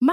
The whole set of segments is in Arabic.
ما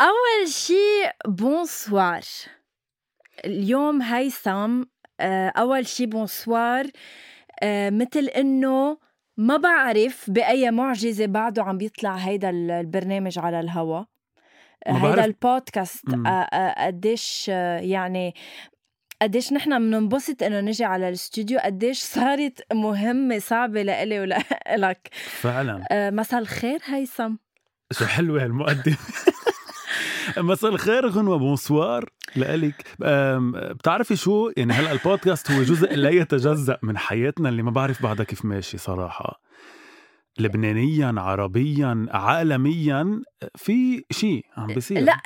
أول شي بونسوار اليوم هيثم آه، أول شي بونسوار آه، مثل إنه ما بعرف بأي معجزة بعده عم بيطلع هيدا ال- البرنامج على الهوا آه، ما هيدا بعرف. البودكاست مم. آه، آه، قديش آه، يعني قديش نحن بننبسط انه نجي على الاستوديو قديش صارت مهمه صعبه لإلي ولإلك فعلا آه، مساء الخير هيثم شو حلوه هالمقدمه مساء الخير غنوة بونسوار لإلك أم، بتعرفي شو يعني هلا البودكاست هو جزء لا يتجزأ من حياتنا اللي ما بعرف بعدها كيف ماشي صراحة لبنانيا عربيا عالميا في شيء عم بيصير لا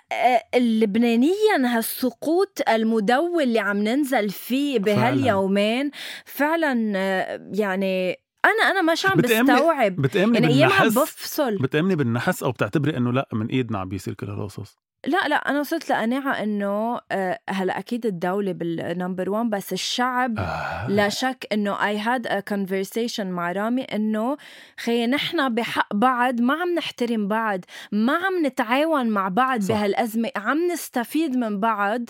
آه، لبنانيا هالسقوط المدوي اللي عم ننزل فيه بهاليومين فعلا آه، يعني انا انا مش عم بتأمني- بستوعب بتأمني يعني ايام عم بالنحس بفصل بتأمني بالنحس او بتعتبري انه لا من ايدنا عم بيصير كل هالقصص لا لا انا وصلت لقناعه انه آه، هلا اكيد الدوله بالنمبر 1 بس الشعب آه. لا شك انه اي هاد ا conversation مع رامي انه خي نحن بحق بعض ما عم نحترم بعض ما عم نتعاون مع بعض صح. بهالازمه عم نستفيد من بعض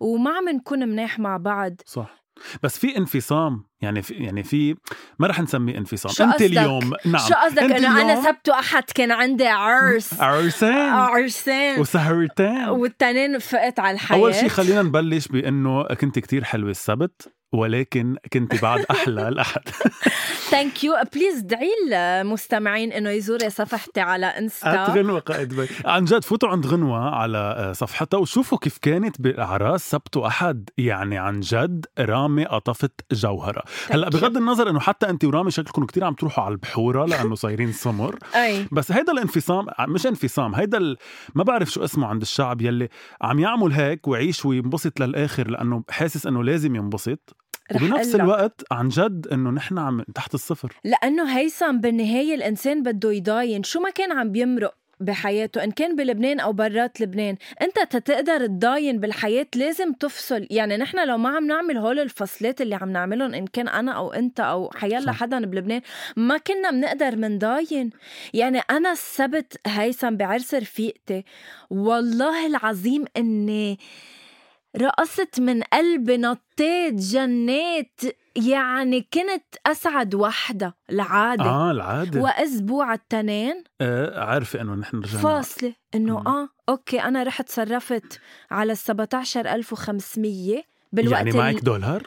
وما عم نكون مناح مع بعض صح بس في انفصام يعني في يعني في ما رح نسميه انفصام شو انت قصدك؟ اليوم نعم شو قصدك أنت انه انا اليوم- سبت واحد كان عندي عرس آه، عرسان عرسان وسهرتان والتنين فقت على الحياه اول شيء خلينا نبلش بانه كنت كتير حلوه السبت ولكن كنت بعد احلى الاحد ثانك يو بليز ادعي المستمعين انه يزوروا صفحتي على عند انستا غنوه قائد بي عن جد فوتوا عند غنوه على آه، صفحتها وشوفوا كيف كانت باعراس سبت واحد يعني عن جد رامي قطفت جوهره هلا بغض النظر انه حتى انت ورامي شكلكم كتير عم تروحوا على البحوره لانه صايرين سمر اي بس هيدا الانفصام مش انفصام هيدا ال... ما بعرف شو اسمه عند الشعب يلي عم يعمل هيك ويعيش وينبسط للاخر لانه حاسس انه لازم ينبسط رح وبنفس أقلك. الوقت عن جد انه نحن عم تحت الصفر لانه هيثم بالنهايه الانسان بده يضاين شو ما كان عم بيمرق بحياته ان كان بلبنان او برات لبنان انت تتقدر تضاين بالحياه لازم تفصل يعني نحن لو ما عم نعمل هول الفصلات اللي عم نعملهم ان كان انا او انت او حيلا صح. حدا بلبنان ما كنا بنقدر منضاين يعني انا السبت هيثم بعرس رفيقتي والله العظيم اني رقصت من قلبي نطيت جنيت يعني كنت اسعد وحده العاده آه. اه العاده و... واسبوع التنين آه عارفه انه نحن رجعنا فاصله انه مم. اه اوكي انا رحت صرفت على ال 17500 بالوقت يعني معك دولار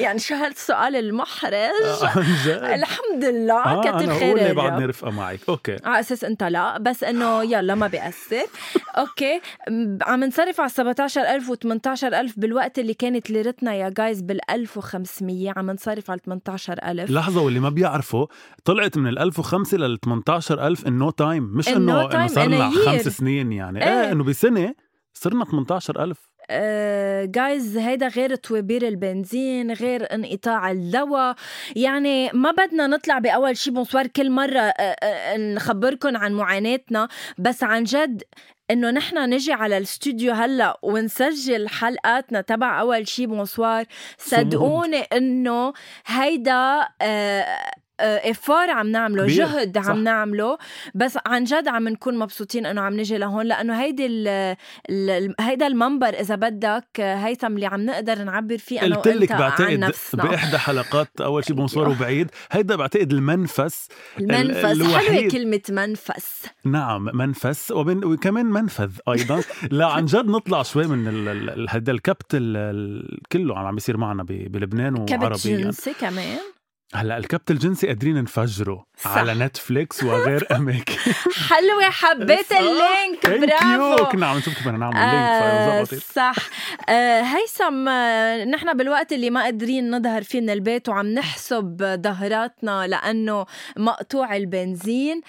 يعني شو هالسؤال المحرج آه، عن جد الحمد لله آه كتر انا هقول لي خير بعدني الرب. رفقه معك اوكي على اساس انت آه، لا بس انه يلا ما بيأثر اوكي م- عم نصرف على 17000 و18000 بالوقت اللي كانت ليرتنا يا جايز بال1500 عم نصرف على 18000 لحظة واللي ما بيعرفوا طلعت من ال 1005 لل 18000 ان نو تايم مش In انه no انه time, صار in a لنا year. خمس سنين يعني ايه, إيه. انه بسنة صرنا 18000 آه، جايز هيدا غير توابير البنزين غير انقطاع الدواء يعني ما بدنا نطلع باول شي بونسوار كل مره آه، آه، نخبركم عن معاناتنا بس عن جد انه نحن نجي على الاستوديو هلا ونسجل حلقاتنا تبع اول شي بونسوار صدقوني انه هيدا آه، افور عم نعمله كبير، جهد صح. عم نعمله بس عن جد عم نكون مبسوطين انه عم نجي لهون لانه هيدي ال ال هيدا المنبر اذا بدك هيثم اللي عم نقدر نعبر فيه انا قلت لك وانت عن بعتقد نفسنا باحدى حلقات اول شيء بونسوار وبعيد هيدا بعتقد المنفس المنفس حلوه الوحيد. كلمه منفس نعم منفس ومن وكمان منفذ ايضا لا عن جد نطلع شوي من ال- ال- ال- هذا الكبت ال- ال- كله عم بيصير معنا ب- بلبنان كبت وعربيا جنسي كمان هلا الكبت الجنسي قادرين نفجره صح. على نتفليكس وغير اماكن حلوه حبيت إيه، صح. اللينك Thank you. برافو كنا عم نشوف كيف بدنا نعمل آه، لينك فزبطت صح آه، هيثم آه، نحن بالوقت اللي ما قادرين نظهر فيه من البيت وعم نحسب ظهراتنا لانه مقطوع البنزين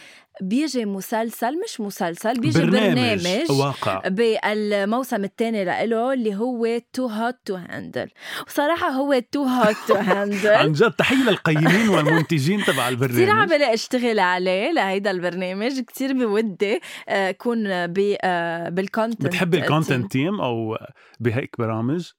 بيجي مسلسل مش مسلسل بيجي برنامج, واقع بالموسم الثاني لإله اللي هو تو هوت تو هاندل وصراحه هو تو هوت تو هاندل عن جد تحيه للقيمين والمنتجين تبع كثير البرنامج عمالة اشتغل عليه لهيدا البرنامج كثير بودي آه، كون ب- آه، بالكونتنت بتحبي الكونتنت تيم او بهيك برامج؟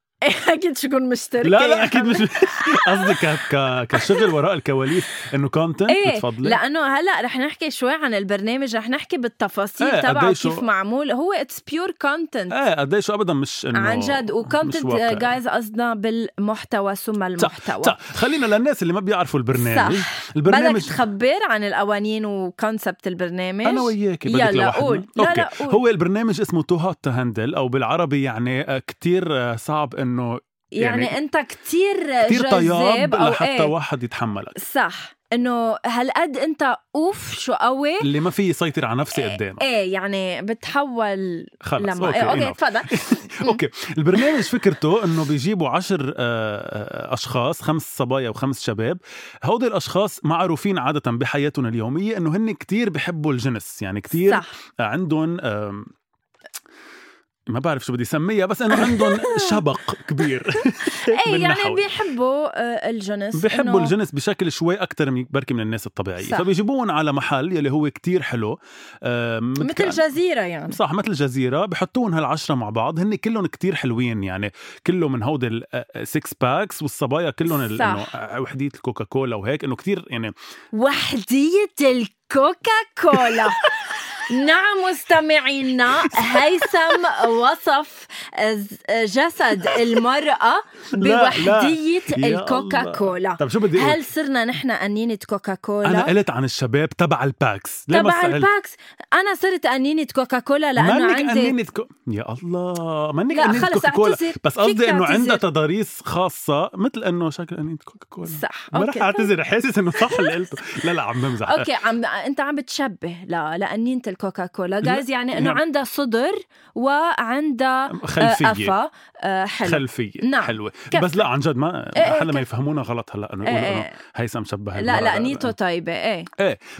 اكيد شو كون مشتركه لا لا يا اكيد حبيبي. مش قصدي ك... ك... كشغل وراء الكواليس انه كونتنت ايه بتفضلي لانه هلا رح نحكي شوي عن البرنامج رح نحكي بالتفاصيل إيه، ايه تبعه قديه شو- كيف معمول هو اتس بيور كونتنت ايه قديش ابدا مش انه عن جد آه، مش وكونتنت واقعي. جايز قصدنا بالمحتوى ثم المحتوى صح طيب، خلينا للناس اللي ما بيعرفوا البرنامج بدك البرنامج تخبر عن القوانين وكونسبت البرنامج انا وياك بدك يلا لوحدنا. قول. لا، أوكي. لا، قول. هو البرنامج اسمه تو هوت تو هاندل او بالعربي يعني كثير صعب انه يعني, يعني يعني انت كتير كثير جذاب طياب او لحتى ايه واحد يتحملك صح انه هالقد انت اوف شو قوي اللي ما في يسيطر على نفسي قدامه ايه يعني بتحول خلص لما اوكي, ايه اوكي enough. تفضل اوكي البرنامج فكرته انه بيجيبوا عشر آه، آه، اشخاص خمس صبايا وخمس شباب هودي الاشخاص معروفين عاده بحياتهم اليوميه انه هن كتير بحبوا الجنس يعني كتير صح عندهم آم، ما بعرف شو بدي اسميها بس انه عندهم شبق كبير ايه من يعني نحو. بيحبوا آه، الجنس بحبوا إنه- الجنس بشكل شوي اكثر من بركي من الناس الطبيعيه صح. فبيجيبوهم على محل يلي هو كتير حلو آم، مثل متك- جزيره يعني صح مثل جزيرة بحطون هالعشرة مع بعض هن كلهم كتير حلوين يعني كله من آه، هود السكس باكس والصبايا كلهم ال- صح. انه وحدية الكوكاكولا وهيك انه كتير يعني وحديه الكوكا كولا نعم مستمعينا هيثم وصف ز- جسد المرأة بوحدية يا الله. الكوكا كولا طب طيب شو بدي اقول هل صرنا نحن أنينة كوكا انا كولا؟ قلت عن الشباب تبع الباكس ليه ما تبع سألت؟ الباكس أنا صرت أنينة كوكا كولا لأنه منك عندي أنينة كو... يا الله منك لا أنينة خلص كوكاكولا اعتذر بس فيك قصدي انه تعتذر. عندها تضاريس خاصة مثل انه شكل أنينة كوكاكولا صح ما رح أوكي طيب. اعتذر حاسس انه صح اللي قلته لا لا عم بمزح اوكي عم انت عم بتشبه لا لانينه الكوكاكولا لا، جايز يعني انه نعم. عندها صدر وعندها آه، خلفية قفا آه، حلو خلفيه نعم. نعم. حلوه كف. بس لا عن جد ما إيه، إيه، حدا ما كف. يفهمونا غلط هلا انه إيه، يقولوا إيه. انه هيثم شبه لا المرأة. لا نيته طيبه ايه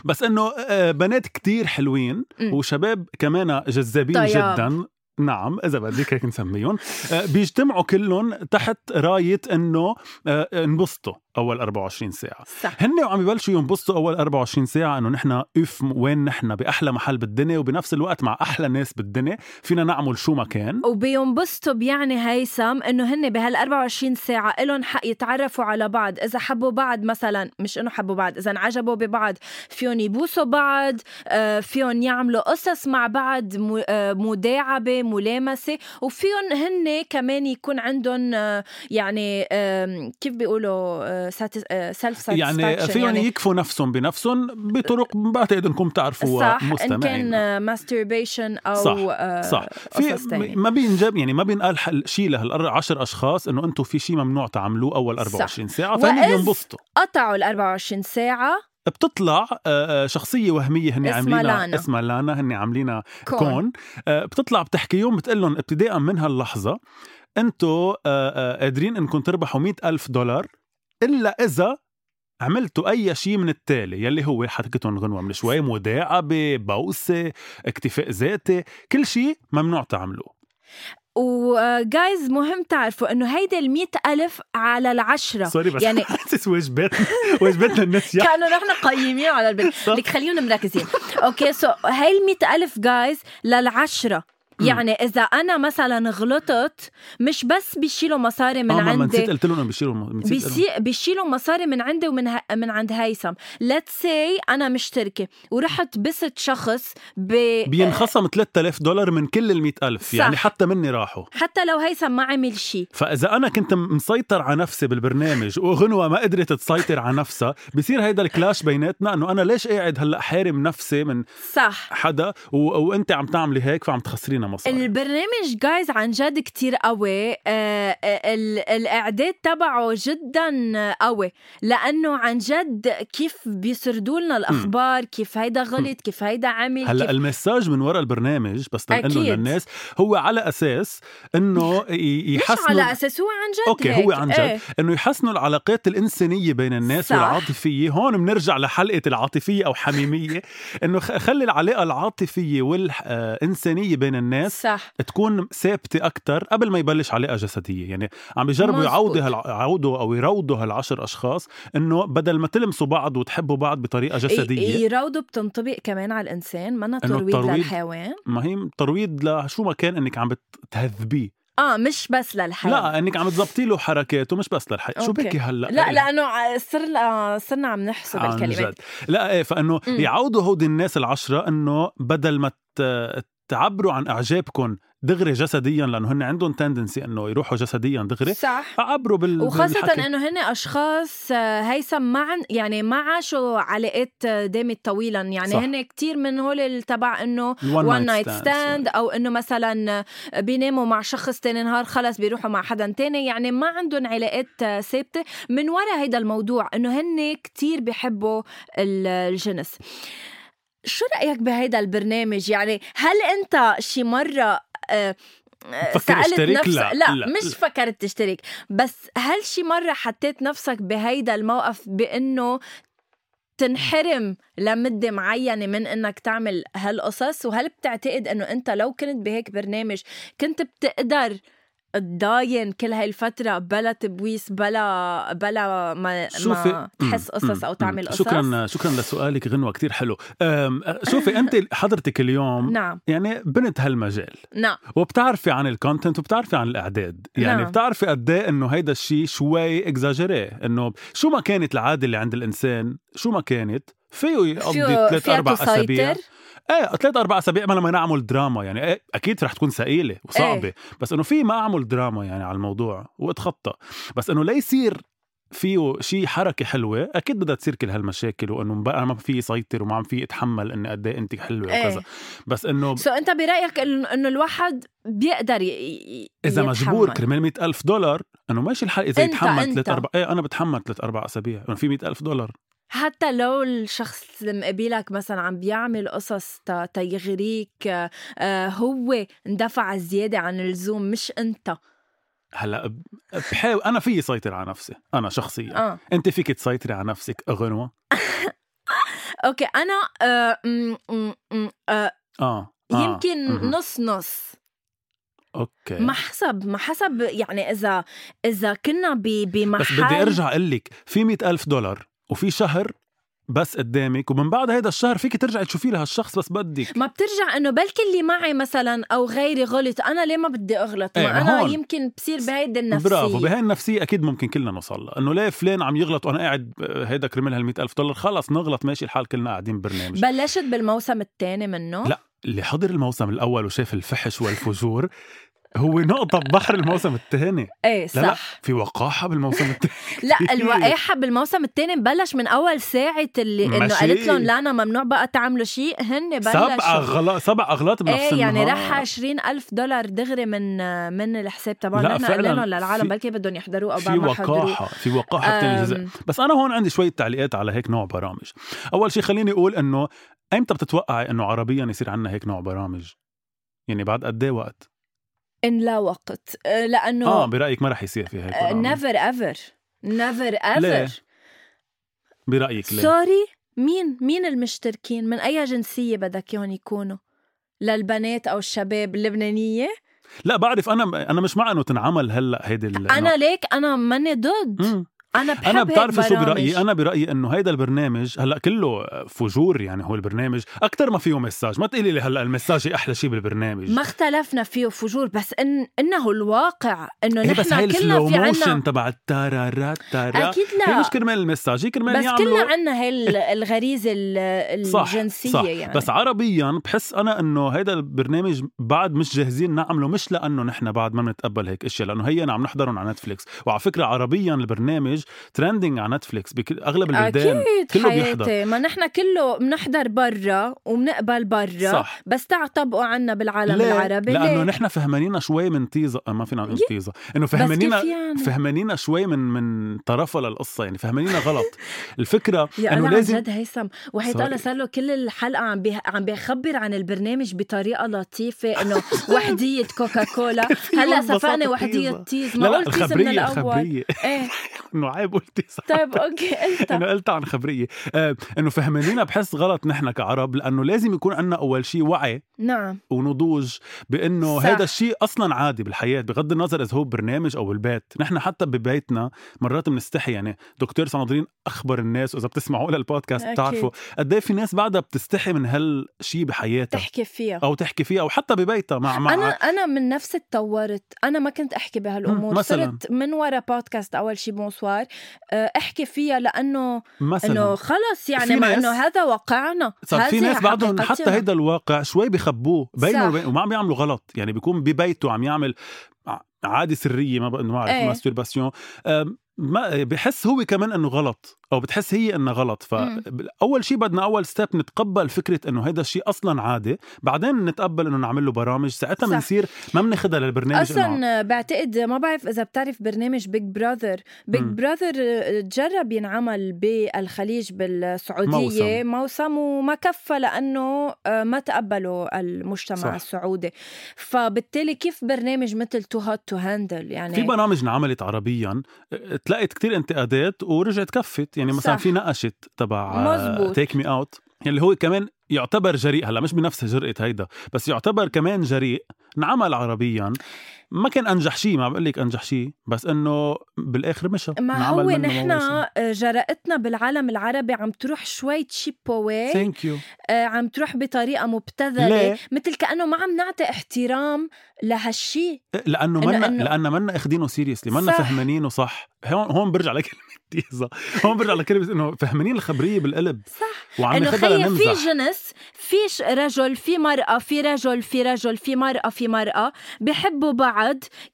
بس انه آه، بنات كتير حلوين أمم. وشباب كمان جذابين طيب. جدا نعم اذا بدك هيك نسميهم آه، بيجتمعوا كلهم تحت رايه انه آه، انبسطوا اول 24 ساعه صح هن وعم يبلشوا ينبسطوا اول 24 ساعه انه نحن اف وين نحن باحلى محل بالدنيا وبنفس الوقت مع احلى ناس بالدنيا فينا نعمل شو ما كان وبينبسطوا بيعني هيثم انه هن بهال 24 ساعه إلهم حق يتعرفوا على بعض اذا حبوا بعض مثلا مش انه حبوا بعض اذا انعجبوا ببعض فيهم يبوسوا بعض آه، فيهم يعملوا قصص مع بعض م- آه، مداعبه ملامسه وفيهم هن كمان يكون عندهم آه، يعني آم، كيف بيقولوا آه، سيلف ساتسفاكشن يعني فيهم يكفوا نفسهم بنفسهم بطرق بعتقد انكم بتعرفوها صح ان مستمعين كان ماستربيشن او صح، آه، صح في قصص تانية. ما بينجاب يعني ما بينقال حل- شيء لهال 10 اشخاص انه انتم في شيء ممنوع تعملوه اول صح. 24 ساعه فهم وإذ- بينبسطوا قطعوا ال 24 ساعه بتطلع آه، آه، شخصيه وهميه هن اسمها عاملينها لانا. اسمها لانا هن عاملينها كون, كون آه، بتطلع بتحكيهم بتقول لهم ابتداء من هاللحظه انتم آه، قادرين انكم تربحوا مئة ألف دولار الا اذا عملتوا اي شيء من التالي يلي هو حركتهم غنوه من شوي مداعبه بوسه اكتفاء ذاتي كل شيء ممنوع تعملوه وجايز آه، مهم تعرفوا انه هيدا ال ألف على العشرة سوري بس يعني- يعني حاسس واجباتنا واجباتنا الناس يا كانوا نحن قيمين على البنت صح. لك خليهم مركزين اوكي سو هاي ال ألف جايز للعشرة يعني اذا انا مثلا غلطت مش بس بيشيلوا مصاري من آه، ما- ما عندي نسيت قلت لهم بشيلوا نسيت قلت لهم. بيسي بيشيلوا مصاري من عندي ومن ه... من عند هيثم ليتس سي انا مشتركه ورحت بست شخص ب... بينخصم 3000 دولار من كل ال 100000 صح. يعني حتى مني راحوا حتى لو هيثم ما عمل شيء فاذا انا كنت م- مسيطر على نفسي بالبرنامج وغنوه ما قدرت تسيطر على نفسها بصير هيدا الكلاش بيناتنا انه انا ليش قاعد هلا حارم نفسي من صح حدا و... وانت عم تعملي هيك فعم تخسرينا مصاري البرنامج جايز عن جد كتير قوي آه، آه، ال- الاعداد تبعه جدا قوي لانه عن جد كيف بيسردوا لنا الاخبار كيف هيدا غلط كيف هيدا عمل هلا كيف المساج من وراء البرنامج بس تنقله أكيد. للناس هو على اساس انه ي- مش يحسنوا على اساس هو عن جد اوكي هيك. هو عن جد إيه. ايه؟ انه يحسنوا العلاقات الانسانيه بين الناس صح. صح. والعاطفيه هون بنرجع لحلقه العاطفيه او حميميه انه خ- خلي العلاقه العاطفيه والانسانيه آه، بين الناس صح تكون ثابته اكثر قبل ما يبلش علاقه جسديه يعني عم بيجربوا مزبوط. يعوضوا هالع- يعوضوا او يروضوا هالعشر اشخاص انه بدل ما تلمسوا بعض وتحبوا بعض بطريقه جسديه إيه، يراودوا بتنطبق كمان على الانسان ما إنه ترويض الترويض- للحيوان ما هي ترويض لشو ما كان انك عم بتهذبيه اه مش بس للحيوان لا انك عم تزبطي له حركاته مش بس للحياه شو أوكي. بكي هلا لا إيه. آه، لانه ع- صرنا آه، صرنا عم نحسب عن الكلمات جد. لا ايه فانه مم. يعودوا هودي الناس العشره انه بدل ما ت- تعبروا عن اعجابكم دغري جسديا لانه هن عندهم تندنسي انه يروحوا جسديا دغري صح عبروا بال وخاصة بالحكي. انه هن اشخاص آه، هيثم ما عن يعني ما عاشوا علاقات آه، دامت طويلا يعني صح. هن كتير من هول ال- تبع انه الون وان نايت نايت ستاند او انه مثلا بيناموا مع شخص تاني نهار خلص بيروحوا مع حدا تاني يعني ما عندهم علاقات آه، ثابته من ورا هيدا الموضوع انه هن كتير بيحبوا ال- الجنس شو رايك بهيدا البرنامج يعني هل انت شي مره آه، آه، فكر اشترك؟ لا, لا، لا, لا، مش لا. فكرت تشترك بس هل شي مرة حطيت نفسك بهيدا الموقف بأنه تنحرم لمدة معينة من انك تعمل هالقصص وهل بتعتقد انه انت لو كنت بهيك برنامج كنت بتقدر تضاين كل هاي الفترة بلا تبويس بلا بلا ما, شوفي- ما تحس قصص مم. آه، او مم. تعمل قصص شكرا شكرا لسؤالك غنوه كتير حلو أم، شوفي انت حضرتك اليوم نعم يعني بنت هالمجال نعم وبتعرفي عن الكونتنت وبتعرفي عن الاعداد يعني نعم. نعم. بتعرفي قد ايه انه هيدا الشيء شوي اكزاجيري انه شو ما كانت العاده اللي عند الانسان شو ما كانت فيه يقضي فيه ثلاث فيها اربع اسابيع تسيطر ايه ثلاث اربع اسابيع ما لما نعمل دراما يعني ايه اكيد رح تكون ثقيله وصعبه إيه. ايه. بس انه في ما اعمل دراما يعني على الموضوع واتخطى بس انه لا يصير فيه شيء حركه حلوه اكيد بدها تصير كل هالمشاكل وانه بقى ما في يسيطر وما عم في يتحمل اني قد ايه انت حلوه إيه. وكذا بس انه سو انت برايك إن- انه الواحد بيقدر ي- ي... اذا يتحمل. مجبور كرمال مئة ألف دولار انه ماشي الحال اذا أنت- يتحمل أنت. ثلاث اربع ايه انا بتحمل ثلاث اربع اسابيع انه في مئة ألف دولار حتى لو الشخص اللي مقابلك مثلا عم بيعمل قصص تا- تيغريك آه، آه، هو اندفع زيادة عن اللزوم مش انت هلا ب- بحاول انا فيي سيطر على نفسي انا شخصيا اه انت فيك تسيطري على نفسك غنوه اوكي انا آه، م- م- م- آه، اه, آه. يمكن مهم. نص نص اوكي ما حسب ما حسب يعني اذا اذا كنا ب- بمحل بس بدي ارجع اقول لك في مئة ألف دولار وفي شهر بس قدامك ومن بعد هيدا الشهر فيك ترجعي تشوفي لها الشخص بس بدك ما بترجع انه بلكي اللي معي مثلا او غيري غلط انا ليه ما بدي اغلط إيه، ما ما انا هون. يمكن بصير بهيدي النفسيه برافو بهاي النفسية أكيد ممكن كلنا نوصل لها إنه ليه فلان عم يغلط وأنا قاعد آه، هيدا كرمال هال ألف دولار خلص نغلط ماشي الحال كلنا قاعدين برنامج بلشت بالموسم الثاني منه لا، اللي حضر الموسم الاول وشاف الفحش والفجور هو نقطة ببحر الموسم الثاني ايه لا لا صح في وقاحة بالموسم الثاني لا الوقاحة بالموسم الثاني بلش من أول ساعة اللي إنه ماشي. قالت لهم لا أنا ممنوع بقى تعملوا شيء هن سبع بلشوا أغلاط سبع أغلاط بنفس ايه يعني النهار. راح 20 ألف دولار دغري من من الحساب تبعهم لا، نحن فعلاً قلنا لهم للعالم في- بلكي بدهم يحضروه أو في بعد ما حضروه وقاحة في وقاحة بتاني جزء أم، بس أنا هون عندي شوية تعليقات على هيك نوع برامج أول شيء خليني أقول إنه أمتى بتتوقعي إنه عربيا يصير عنا هيك نوع برامج يعني بعد قد ايه وقت؟ إن لا وقت آه، اه لأنه آه، برايك ما رح يصير في هيك برامج نيفر ايفر نيفر ليه؟ ايفر برايك ليه؟ سوري مين مين المشتركين من أي جنسية بدك إياهم يكونوا للبنات أو الشباب اللبنانية لا بعرف انا انا مش مع انه تنعمل هلا هيدي ال- أنا ليك أنا ماني ضد مم. انا بحب انا بتعرف هيك شو برامج. برايي انا برايي انه هيدا البرنامج هلا كله فجور يعني هو البرنامج اكثر ما فيه مساج ما تقولي لي هلا المساج احلى شيء بالبرنامج ما اختلفنا فيه فجور بس إن انه الواقع انه هي إيه، بس هاي نحن كلنا السلو في عنا موشن تبع التارارات تارا اكيد هي لا مش كرمال المساج هي كرمال بس يعملوا كلنا عنا هاي ال- الغريزه ال- صح الجنسيه صح يعني بس عربيا بحس انا انه هيدا البرنامج بعد مش جاهزين نعمله مش لانه نحن بعد ما بنتقبل هيك اشياء لانه هي عم نحضرهم على نتفليكس وعلى فكره عربيا البرنامج ترندنج على نتفليكس بكل اغلب البلدان اكيد كله بيحضر. حياتي ما نحن كله بنحضر برا وبنقبل برا صح. بس تعا طبقوا عنا بالعالم ليه؟ العربي لانه ليه؟ نحن فهمانين شوي من تيزا آه، ما فينا نقول يه. تيزا انه بس كيف فهمانين يعني؟ فهمانين شوي من من طرفها للقصه يعني فهمانين غلط الفكره يا انه انا عن لازم جد هيثم وحيد Sorry. الله صار له كل الحلقه عم بيه... عم بيخبر عن البرنامج بطريقه لطيفه انه وحديه كوكاكولا هلا والبساطة سفقنا وحديه تيزا. تيز لا ما لا قلت تيز من الخبريه الاول الخبريه ايه انه عيب قلت تيزا طيب اوكي قلتها انه قلت عن خبريه آه انه فهمانينا بحس غلط نحن كعرب لانه لازم يكون عندنا اول شيء وعي نعم ونضوج بانه صح. هذا الشيء اصلا عادي بالحياه بغض النظر اذا هو برنامج او البيت نحن حتى ببيتنا مرات بنستحي يعني دكتور صنادرين اخبر الناس واذا بتسمعوا للبودكاست أكيد. بتعرفوا قد ايه في ناس بعدها بتستحي من هالشيء بحياتها تحكي فيها او تحكي فيه او حتى ببيتها مع مع انا انا من نفسي تطورت انا ما كنت احكي مم، بهالامور مثلاً. صرت من ورا بودكاست اول شي بونسوار آه، احكي فيها لانه انه مثلا خلص في يعني ما ناس- انه هذا واقعنا صار في هذه ناس بعدهم حتى حقيقتنا. هيدا الواقع شوي بخبوه صح. بينه وبين وما عم يعملوا غلط يعني بيكون ببيته عم يعمل ع- عادة سرية ما بقى- ما بعرف إيه. ماسترباسيون أم، ما بحس هو كمان انه غلط او بتحس هي انها غلط مم. فاول شيء بدنا اول ستيب نتقبل فكره انه هذا الشيء اصلا عادي بعدين نتقبل انه نعمل له برامج ساعتها صح. بنصير ما بناخذها للبرنامج إنه اصلا بعتقد ما بعرف اذا بتعرف برنامج بيج براذر بيج مم. براذر آه، جرب ينعمل بالخليج بالسعوديه موسم, موسم وما كفى لانه آه، ما تقبلوا المجتمع صح. صح. السعودي فبالتالي كيف برنامج مثل تو هوت تو هاندل يعني في برامج انعملت عربيا أه، تلاقت كتير انتقادات ورجعت كفت يعني مثلا صح. في نقشت تبع آه، مزبوط. تيك مي اوت اللي يعني هو كمان يعتبر جريء هلا مش بنفس جرأة هيدا بس يعتبر كمان جريء انعمل عربيا ما كان انجح شيء ما عم بقول لك انجح شيء بس انه بالاخر مشى ما هو نحن آه، جرأتنا بالعالم العربي عم تروح شوي تشيبوي ثانك يو آه، عم تروح بطريقه ليه؟ مبتذله مثل كانه ما عم نعطي احترام لهالشي لانه إنه- إيه، منا إنه- لانه منا اخذينه سيريسلي منا صح. فهمانينه صح هون هون برجع لكلمه تيزا هون برجع لكلمه انه فهمانين الخبريه بالقلب صح وعم انه ناخذها خيي لنمزح في جنس في ش- رجل في مرأة في رجل في رجل في مرأة في مرأة بحبوا بعض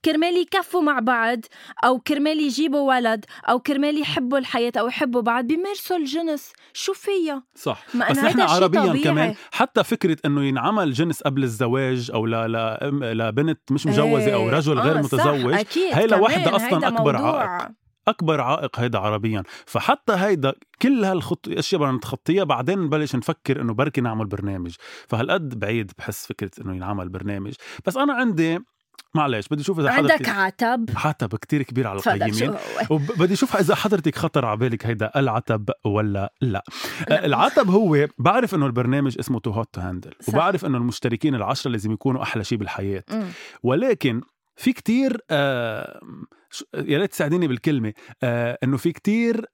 كرمال يكفوا مع بعض او كرمال يجيبوا ولد او كرمال يحبوا الحياة او يحبوا بعض بيمارسوا الجنس شو فيها صح ما بس أنا نحن هيدا شي عربيا طبيعي. كمان حتى فكره انه ينعمل جنس قبل الزواج او ل... ل... أم- لبنت مش مجوزه او إيه. رجل غير آه، متزوج صح. أكيد. هي لوحدها كمان أصلاً هيدا أكبر موضوع. عائق. اكبر عائق هيدا عربيا فحتى هيدا كل هالخط اشياء بدنا نتخطيها بعدين نبلش نفكر انه بركي نعمل برنامج فهالقد بعيد بحس فكره انه ينعمل برنامج بس انا عندي معلش بدي اشوف اذا عندك حضرتك عتب عتب كتير كبير على تفضل القيمين شو- وبدي اشوف اذا حضرتك خطر على بالك هيدا العتب ولا لا أه، العتب هو بعرف انه البرنامج اسمه تو هوت تو هاندل صح. وبعرف انه المشتركين العشره لازم يكونوا احلى شيء بالحياه مم. ولكن في كتير آه شو- يا ريت تساعديني بالكلمه آه انه في كتير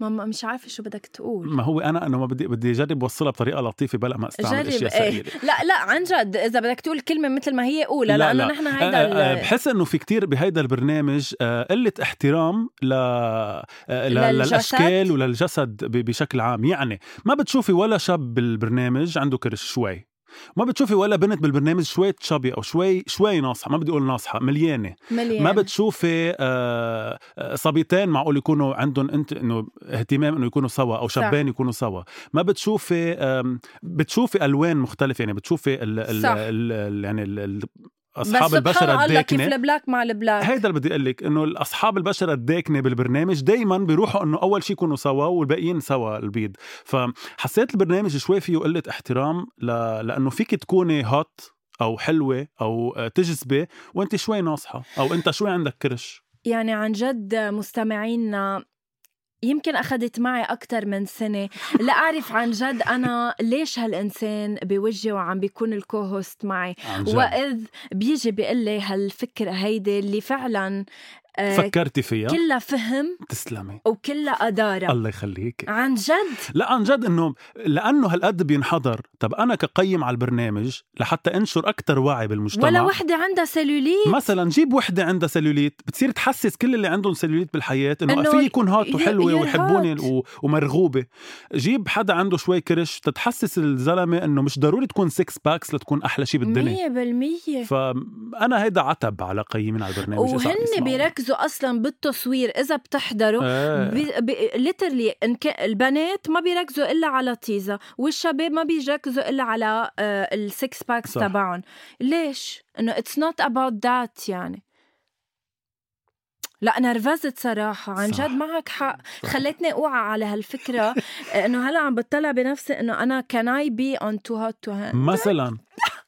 ماما مش عارفه شو بدك تقول ما هو انا انه ما بدي بدي اجرب اوصلها بطريقه لطيفه بلا ما استعمل جرب اشياء ايه ثقيله لا لا عن جد اذا بدك تقول كلمه مثل ما هي قولها لا، لانه لا. نحن آه، هيدا آه، ال- بحس انه في كتير بهيدا البرنامج آه، قله احترام ل آه، ل- للجسد. للاشكال وللجسد ب- بشكل عام يعني ما بتشوفي ولا شاب بالبرنامج عنده كرش شوي ما بتشوفي ولا بنت بالبرنامج شوي تشابي او شوي شوي ناصحه ما بدي اقول ناصحه مليانه مليان ما بتشوفي آه، آه، صبيتين معقول يكونوا عندهم انت انه اهتمام انه يكونوا سوا او صح. شابين يكونوا سوا ما بتشوفي آم، بتشوفي الوان مختلفه يعني بتشوفي ال ال صح. ال ال يعني ال ال بس اصحاب سبحان البشره الله كيف الداكنه البلاك مع البلاك إيه هيدا اللي بدي اقول لك انه اصحاب البشره الداكنه إيه بالبرنامج دائما بيروحوا انه اول شيء يكونوا سوا والباقيين سوا البيض فحسيت البرنامج شوي فيه قله احترام ل... لانه فيك تكوني هوت او حلوه او آه، تجذبي وانت شوي ناصحه او انت شوي عندك كرش يعني عن جد مستمعينا يمكن أخذت معي أكثر من سنة لأعرف عن جد أنا ليش هالإنسان بوجهي وعم بيكون الكوهوست معي عن جد. وإذ بيجي بيقول لي هالفكرة هيدي اللي فعلا آه، فكرتي فيها كلها فهم تسلمي وكلها أدارة الله يخليك عن جد لا عن جد انه لانه هالقد بينحضر طب انا كقيم على البرنامج لحتى انشر اكثر وعي بالمجتمع ولا وحدة عندها سيلوليت مثلا جيب وحدة عندها سلوليت بتصير تحسس كل اللي عندهم سلوليت بالحياة انه إنه في يكون هات you're- وحلوة you're ويحبوني hot. و- ومرغوبة جيب حدا عنده شوي كرش تتحسس الزلمة انه مش ضروري تكون سكس باكس لتكون احلى شيء بالدنيا مية بالمية فانا هيدا عتب على قيمين على البرنامج إذا عم وهن يسمعوا. بيركزوا اصلا بالتصوير اذا بتحضروا آه. ليترلي البنات ما بيركزوا الا على تيزا والشباب ما بيركزوا الا على آه، السكس باكس صح. تبعهم ليش انه اتس نوت اباوت ذات يعني لا نرفزت صراحة عن صح. جد معك حق خلتني اوعى على هالفكرة انه هلا عم بتطلع بنفسي انه انا can I be on too hot to handle مثلا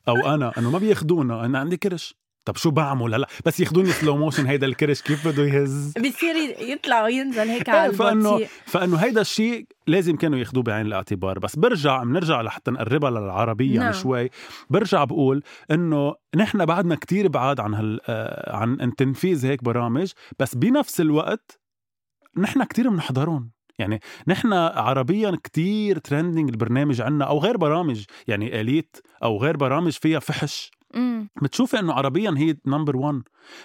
او انا انه ما بياخدونا انا عندي كرش طب شو بعمل هلا بس ياخدوني سلو موشن هيدا الكرش كيف بده يهز بصير يطلع وينزل هيك إيه، على فانه البطيء فانه هيدا الشيء لازم كانوا ياخدوه بعين الاعتبار بس برجع بنرجع لحتى نقربها للعربيه نعم. نعم. شوي برجع بقول انه نحن بعدنا كتير بعاد عن هال آه، عن عن تنفيذ هيك برامج بس بنفس الوقت نحن كتير بنحضرهم يعني نحن عربيا كتير ترندنج البرنامج عنا او غير برامج يعني اليت او غير برامج فيها فحش مم. بتشوفي انه عربيا هي نمبر 1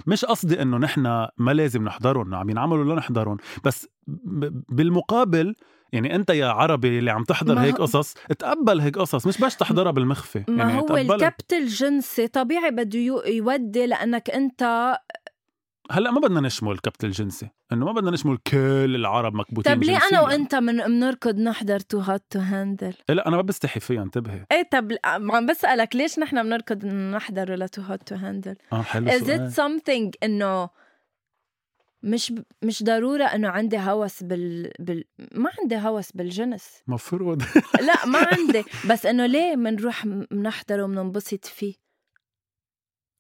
مش قصدي انه نحن ما لازم نحضرهم نعم، عم ينعملوا لنحضرهم بس ب- بالمقابل يعني انت يا عربي اللي عم تحضر ما هيك هو- قصص تقبل هيك قصص مش بس تحضرها بالمخفي ما يعني يعني هو تقبلها. الكبت الجنسي طبيعي بده يو- يودي لانك انت هلا ما بدنا نشمل الكبت الجنسي انه ما بدنا نشمل كل العرب مكبوتين طب طيب ليه انا جنسياً. وانت من بنركض نحضر تو هات تو هاندل إيه لا انا ما بستحي فيها انتبهي ايه طب ل- عم بسالك ليش نحن بنركض نحضر لتو هات تو هاندل اه حلو از سؤال. ات something انه مش ب- مش ضروره انه عندي هوس بال, بال... ما عندي هوس بالجنس مفروض لا ما عندي بس انه ليه منروح منحضره ومننبسط فيه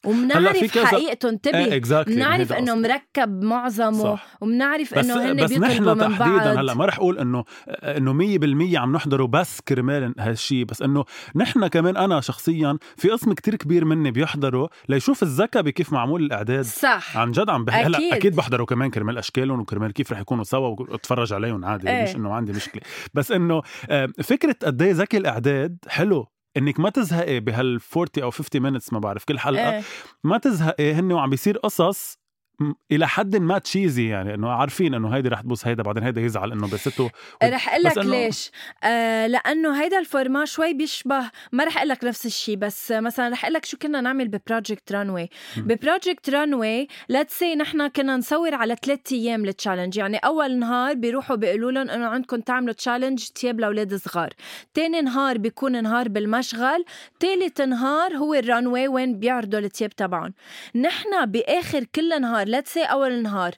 هلا في ومنعرف كذا- إيه، حقيقته انتبه اكزاكتلي منعرف انه مركب معظمه صح. ومنعرف بس انه هن بس بيطلبوا نحن من تحديدا بعض هلا ما رح اقول انه انه 100% عم نحضره بس كرمال هالشيء بس انه نحن كمان انا شخصيا في قسم كتير كبير مني بيحضره ليشوف الذكاء بكيف معمول الاعداد صح عن جد عم بحكي أكيد. هلا اكيد بحضره كمان كرمال اشكالهم وكرمال كيف رح يكونوا سوا واتفرج عليهم عادي إيه. مش انه عندي مشكله بس انه آه، فكره قد ايه ذكي الاعداد حلو انك ما تزهقي بهال 40 او 50 مينتس ما بعرف كل حلقه إيه. ما تزهقي هن وعم بيصير قصص م- الى حد ما تشيزي يعني انه عارفين انه هيدي رح تبوس هيدا بعدين هيدا يزعل انه بسته رح اقول لك إنه- ليش آه لانه هيدا الفورما شوي بيشبه ما رح اقول لك نفس الشيء بس مثلا رح اقول لك شو كنا نعمل ببروجكت رانوي مم. ببروجكت رانوي ليتس سي نحن كنا نصور على ثلاث ايام التشالنج يعني اول نهار بيروحوا بيقولوا لهم انه عندكم تعملوا تشالنج تياب لاولاد صغار تاني نهار بيكون نهار بالمشغل تالت نهار هو الرانوي وين بيعرضوا التياب تبعهم نحن باخر كل نهار ليتس سي اول نهار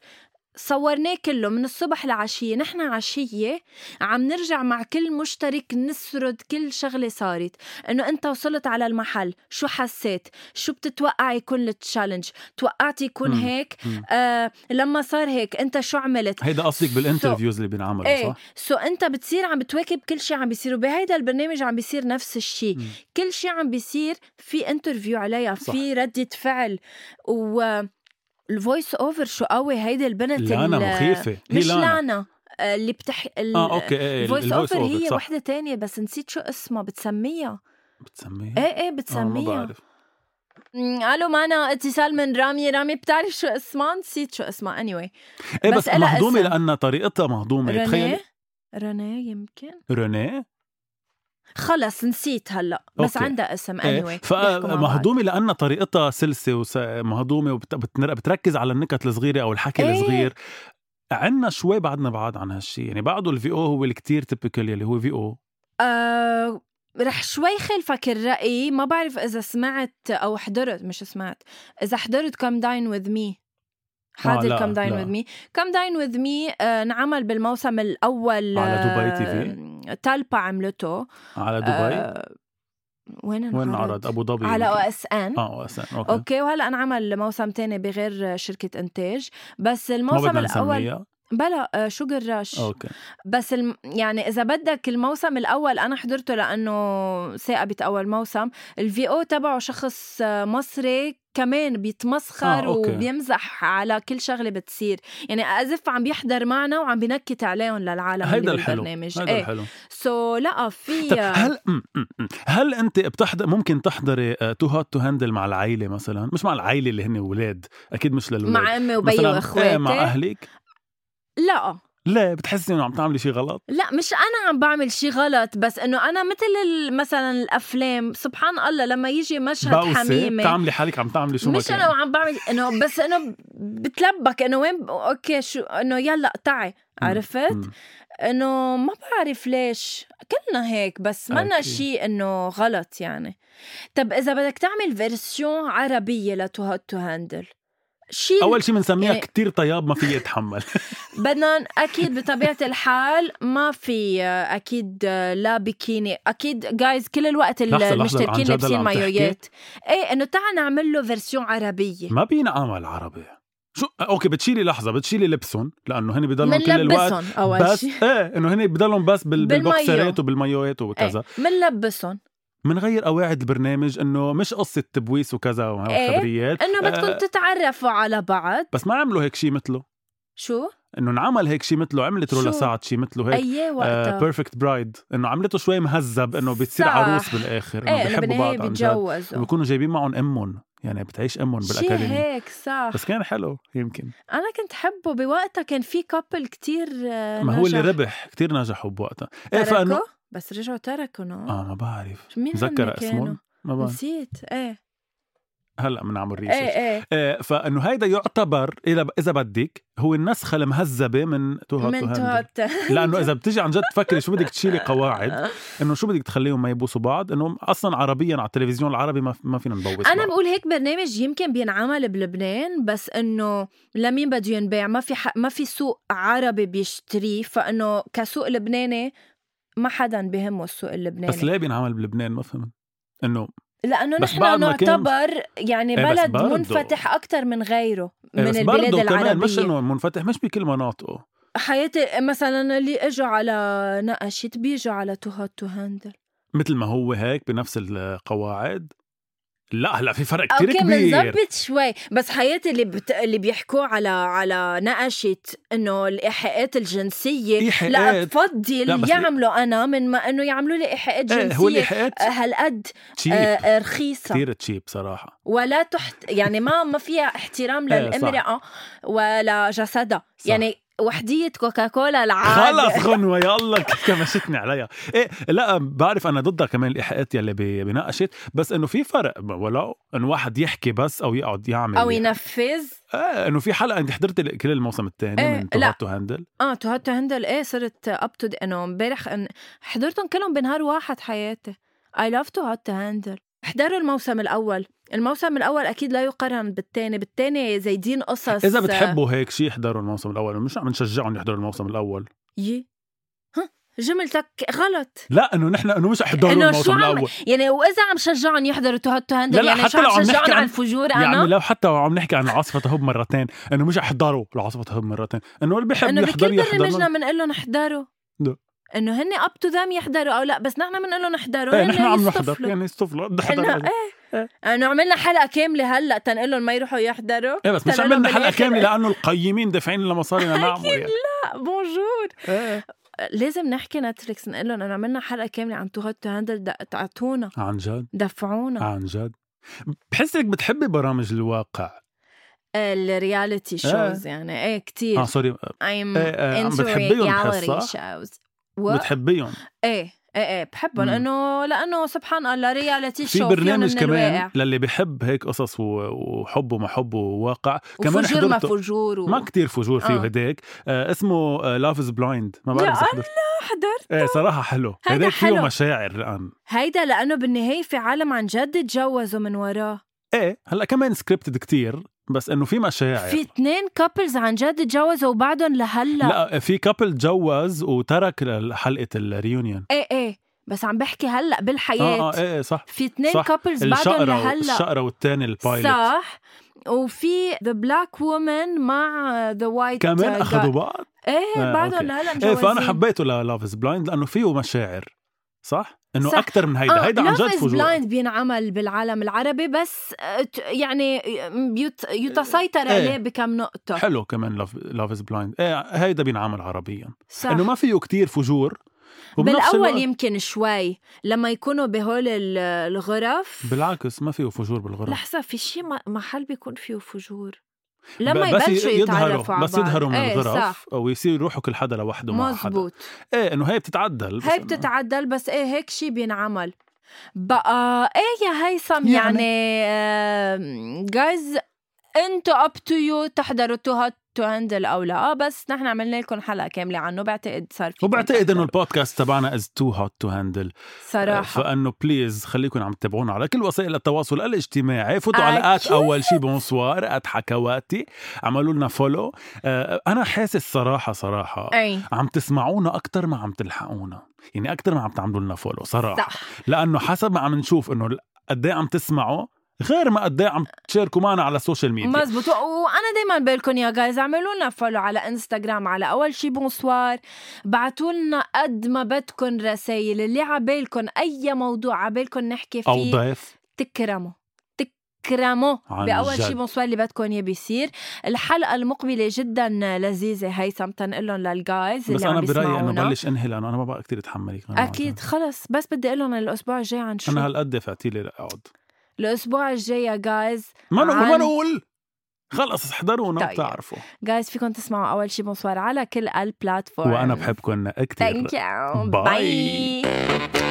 صورناه كله من الصبح لعشية نحن عشية عم نرجع مع كل مشترك نسرد كل شغلة صارت انه انت وصلت على المحل شو حسيت شو بتتوقع يكون التشالنج توقعت يكون مم. هيك مم. آه لما صار هيك انت شو عملت هيدا قصدك بالانترفيوز اللي بينعملوا ايه صح؟ سو انت بتصير عم بتواكب كل شيء عم بيصير وبهيدا البرنامج عم بيصير نفس الشيء مم. كل شيء عم بيصير في انترفيو عليها صح. في ردة فعل و الفويس اوفر شو قوي هيدي البنت لانا ال- مخيفه هي مش لانا لانا آه، اللي بتح ال- اه اوكي ايه الفويس اوفر هي صح. وحده تانية بس نسيت شو اسمها بتسميها بتسميها؟ ايه ايه آه، ما بتسميها بعرف مم، الو معنا اتصال من رامي رامي بتعرف شو اسمها نسيت شو اسمها anyway ايه بس بس إلها مهضومه اسم. لانها طريقتها مهضومه رنيه تخيل رنيه يمكن رنيه خلص نسيت هلا بس أوكي. عندها اسم إيه، anyway بيحكوا مع بعض. فمهضومه لان طريقتها سلسه ومهضومه وبتركز على النكت الصغيره او الحكي إيه. الصغير عنا شوي بعدنا بعاد عن هالشيء يعني بعده الفي او هو الكتير تيبيكال يلي هو في او آه رح شوي خلفك الرأي ما بعرف إذا سمعت أو حضرت مش سمعت إذا حضرت كم داين وذ مي حاضر آه، لا، كم داين لا. وذ مي كم داين وذ مي آه، انعمل بالموسم الأول على دبي آه، TV. تالبا عملته على دبي آه وين وين عرض ابو ظبي على او يمكن. اس ان اه وأسان. اوكي, اوكي وهلا انعمل موسم تاني بغير شركة انتاج بس ما الموسم بدنا الأول نسميها بلا آه، شوجر رش اوكي بس الم... يعني اذا بدك الموسم الاول انا حضرته لانه ثاقبت اول موسم الفي او تبعه شخص آه، مصري كمان بيتمسخر آه، آه، أوكي. وبيمزح على كل شغله بتصير يعني ازف عم بيحضر معنا وعم بنكت عليهم للعالم هيدا اللي الحلو بالبرنامج هيدا ايه الحلو سو لا في طب هل م- م- م. هل انت بتحضر ممكن تحضري آه، تو هوت تو هاندل مع العائله مثلا مش مع العائله اللي هن اولاد اكيد مش للولاد مع امي وبي مثلاً، إيه، واخواتي مع اهلك لا لا بتحسي انه عم تعملي شيء غلط لا مش انا عم بعمل شيء غلط بس انه انا مثل ال- مثلا الافلام سبحان الله لما يجي مشهد بوسه حميمه بتعملي حالك عم تعملي شو ما مش كان انا وعم بعمل انه بس انه بتلبك انه وين اوكي شو انه يلا تعي عرفت؟ مم. انه ما بعرف ليش كلنا هيك بس منا أكيد. شيء انه غلط يعني طب اذا بدك تعمل فيرسيون عربيه لتو هات تو هاندل شيل اول شيء بنسميها يعني- كتير طياب ما في يتحمل بدنا اكيد بطبيعه الحال ما في آه، اكيد آه، لا بكيني اكيد جايز كل الوقت ال- لحظة، لحظة، عن المشتركين جد هلأ لابسين عم تحكي؟ مايويات ايه انه تعال نعمل له فيرسيون عربيه ما بينعمل عربي شو اوكي بتشيلي لحظه بتشيلي لبسهم لانه هن بضلهم كل الوقت منلبسهم اول بس شيء ايه انه هن بضلهم بس بال... بالمايو. بالبوكسرات وبالمايوهات وكذا ايه منلبسهم منغير قواعد البرنامج انه مش قصه تبويس وكذا إيه، وخبريات انه آه. بدكم تتعرفوا على بعض بس ما عملوا هيك شيء مثله شو انه انعمل هيك شيء مثله عملت رولا شو؟ سعد شيء مثله هيك آه، اي وقتها بيرفكت برايد انه عملته شوي مهذب انه بتصير صح. عروس بالاخر انه ايه انه بيحبوا بالنهايه بعض عن جد بيتجوزوا وبكونوا جايبين معهم امهم يعني بتعيش امهم شي بالاكاديميه هيك صح بس كان حلو يمكن انا كنت حبه بوقتها كان في كابل كتير آه، ما هو اللي نجح. ربح كتير نجحوا بوقتها ايه فانه تركوا بس رجعوا تركوا نو. اه ما بعرف مين هن مذكر كانوا؟ اسمهم ما بعرف نسيت ايه هلا بنعمل ريسيرش ايه ايه ايه فانه هيدا يعتبر اذا اذا بدك هو النسخه المهذبه من تو هوت تو من هاندل توت لانه اذا بتجي عن جد تفكري شو بدك تشيلي قواعد انه شو بدك تخليهم ما يبوسوا بعض انه اصلا عربيا على التلفزيون العربي ما, ما فينا نبوس انا بعض. بقول هيك برنامج يمكن بينعمل بلبنان بس انه لمين بده ينباع ما في حق ما في سوق عربي بيشتريه فانه كسوق لبناني ما حدا بهمه السوق بس اللبناني ليه بينعمل بلبنان آه، ما فهمت انه لانه بس نحن بعد ما كان- نعتبر يعني إيه بس بلد برضه. منفتح اكثر من غيره إيه من بس البلاد برضه كمان مش العربيه انه منفتح مش بكل مناطقه حياتي مثلا اللي اجوا على نقشت بيجوا على تو هات تو هاندل مثل ما هو هيك بنفس القواعد لا هلا في فرق كتير اوكي كبير بنظبط شوي بس حياتي اللي بت... اللي بيحكوه على على نقشت انه الايحاءات الجنسيه لا ايحاءات إيه، لا، بفضل بس- يعملوا انا من ما انه يعملوا لي ايحاءات ايه هو جنسيه الايحاءات آه، هالقد آه، تشيب آه، رخيصه كثير تشيب صراحه ولا تحت يعني ما ما فيها احترام إيه، صح. للامراه ولا جسدها صح. يعني وحدية كوكاكولا العادة خلص غنوة يا الله كيف كمشتني عليها إيه لا بعرف أنا ضدها كمان الإيحاءات يلي بي- بناقشت بس إنه في فرق ولو إنه واحد يحكي بس أو يقعد يعمل أو ينفذ آه إنه في حلقة أنت حضرت ال- كل الموسم الثاني إيه، من لا. تو هاندل اه تو هات هندل ايه صرت اب تو انه امبارح إن حضرتهم كلهم بنهار واحد حياتي اي لاف تو هات هندل احضروا الموسم الاول الموسم الاول اكيد لا يقارن بالتاني بالتاني زايدين قصص إذا بتحبوا هيك شيء احضروا الموسم الأول مش عم نشجعهم يحضروا الموسم الأول يي ها جملتك غلط لا إنه نحن إنه مش احضروا إنه شو الموسم عم- الأول يعني واذا عم شجعهم يحضروا تو هات لا هندل لا، يعني حتى شو لو عم عم نحكي شجعهم عن- يعني عن الفجور يا عمي انا لو حتى لو عم نحكي عن عاصفة هوب مرتين إنه مش احضروا العاصفة هوب مرتين إنه اللي بيحب انه يحضر بكل برنامجنا يحضر بنقول لهم احضروا لا. انه هن اب تو ذم يحضروا او لا بس نحن بنقول لهم احضروا إيه هن نحن عم نحضر يستفلوا. يعني استفلوا انه نحضر إيه. ايه انه عملنا حلقه كامله هلا تنقول لهم ما يروحوا يحضروا ايه بس مش تنقلهم عملنا حلقه بالآخر. كامله لانه القيمين دافعين لنا مصاري لنعمل يعني لا بونجور إيه. لازم نحكي نتفليكس نقول لهم انه عملنا حلقه كامله عن تو هوت تو هاندل دق- تعطونا عن جد دفعونا عن جد بحسك بتحبي برامج الواقع الرياليتي شوز يعني ايه كثير اه سوري I'm إيه، إيه، عم into بتحبيهم reality بحس، صح؟ shows و- بتحبيهم ايه ايه ايه بحبهم مم. انه لانه سبحان الله رياليتي شو في برنامج كمان للي بيحب هيك قصص و- وحب ومحب وواقع كمان وفجور ما حضرته فجور و... ما كتير فجور فيه آه. هداك آه اسمه لاف از بلايند ما يا بعرف إذا الله حضرت. آه، حضرت ايه صراحه حلو هيدا هداك فيه حلو. مشاعر الان هيدا لانه بالنهايه في عالم عن جد تجوزوا من وراه ايه هلا كمان سكريبتد كتير بس انه في مشاعر في اثنين كابلز عن جد تجوزوا وبعدهم لهلا لا في كابل تجوز وترك حلقه الريونيون ايه ايه بس عم بحكي هلا بالحياه اه اه ايه صح في اثنين صح. كابلز بعدهم الشقرة لهلا الشقرة والتاني البايلوت صح وفي ذا بلاك وومن مع ذا وايت كمان اخذوا بعض ايه آه، بعدهم أوكي. هلا مجوزين ايه فانا حبيته للاف از بلايند لانه فيه مشاعر صح؟ انه صح. آه، اكثر من هيدا هيدا عن جد فجوع بلايند بينعمل بالعالم العربي بس آه، ت- يعني يت... يتسيطر إيه. عليه بكم نقطة حلو كمان لاف از بلايند ايه هيدا بينعمل عربيا صح انه ما فيه كتير فجور وبنفس بالاول الوقت- يمكن شوي لما يكونوا بهول ال- الغرف بالعكس ما فيه فجور بالغرب لحظة في شي م- محل بيكون فيه فجور لما بس يبلشوا يتعرفوا على بس بعض. يظهروا من إيه، الغرف صح. ويصير يروحوا كل حدا لوحده مع حدا مزبوط ايه انه هي بتتعدل بس هي إنه- بتتعدل بس ايه هيك شي بينعمل بقى ايه يا هيثم يعني- يعني جايز انتوا اب تو يو تحضروا تو هات تو هاندل او لا بس نحن عملنا لكم حلقه كامله عنه بعتقد صار في وبعتقد انه البودكاست تبعنا از تو هوت تو هاندل صراحه فانه بليز خليكم عم تتابعونا على كل وسائل التواصل الاجتماعي فوتوا على ات أكيد. اول شي بونسوار ات حكواتي عملوا لنا فولو انا حاسس صراحه صراحه اي عم تسمعونا اكثر ما عم تلحقونا يعني اكثر ما عم تعملوا لنا فولو صراحه صح لانه حسب ما عم نشوف انه ال- قد إيه عم تسمعوا غير ما قد إيه عم تشاركوا معنا على السوشيال ميديا مزبوط و- وانا دايما بقولكم يا جايز اعملوا لنا فولو على انستغرام على اول شي بونسوار بعتوا لنا قد ما بدكم رسائل اللي عبالكم اي موضوع عبالكم نحكي فيه او ضيف تكرموا تكرموا عن باول جد. شيء بونسوار اللي بدكم اياه بيصير الحلقه المقبله جدا لذيذه هيثم تنقلهم للجايز بس اللي عم انا برايي انه بيسمعونا بلش انهي لانه انا ما بقى كثير اتحملك أنا اكيد معك. خلص بس بدي اقول لهم الاسبوع الجاي عن شو انا هالقد دفعتي لي اقعد الاسبوع الجاي يا جايز ما نقول ما عن- نقول خلص احضرونا طيب. بتعرفوا جايز فيكم تسمعوا اول شيء بونسوار على كل البلاتفورم طيب. وانا بحبكم كثير ثانك يو Bye. باي